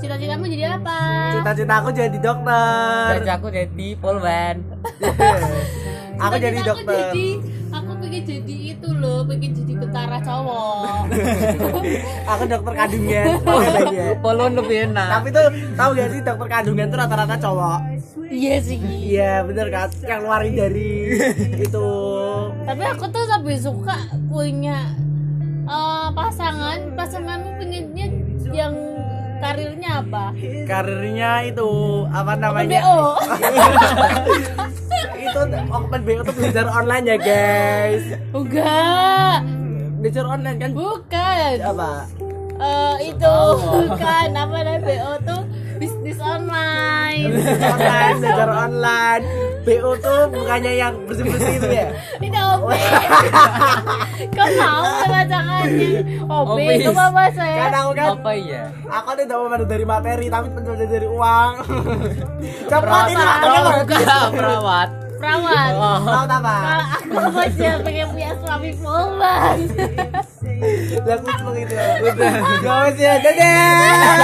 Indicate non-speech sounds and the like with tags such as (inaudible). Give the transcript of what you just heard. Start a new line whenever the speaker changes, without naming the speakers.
Cita-citamu jadi apa?
Cita-cita aku jadi dokter. (laughs)
Kerja aku jadi polwan.
aku
Cita-cita
jadi dokter.
Jadi, aku pengen jadi itu loh, pengen jadi tentara
(laughs)
cowok.
Aku dokter (laughs) kandungan. Oh, iya.
Polwan lebih enak.
Tapi tuh tahu gak sih dokter kandungan tuh rata-rata cowok.
Iya sih.
Iya bener kan yang ngeluarin dari itu
Tapi aku tuh lebih suka punya eh, pasangan, pasanganmu pengennya yang karirnya apa?
karirnya itu apa namanya?
BO.
itu open BO tuh belajar online ya guys.
(laughs) Enggak.
Belajar online kan
Bukan.
apa?
Eh, itu
Oh.
bukan apa namanya BO tuh bisnis online.
(laughs) online, belajar online. BO tuh bukannya yang bersih-bersih itu ya.
Tidak OP. Kau mau pelajarannya OP
OP.
itu apa saya?
Kan aku kan
Apa ya?
aku tuh tidak memandu dari materi tapi memandu dari uang. Cepat ini Pak.
Perawat. (laughs) Perawat.
Perawat.
Tahu tak apa?
Kalau aku aja pengen punya suami polman.
Lagu itu gitu. Udah. Gak usah. Dadah.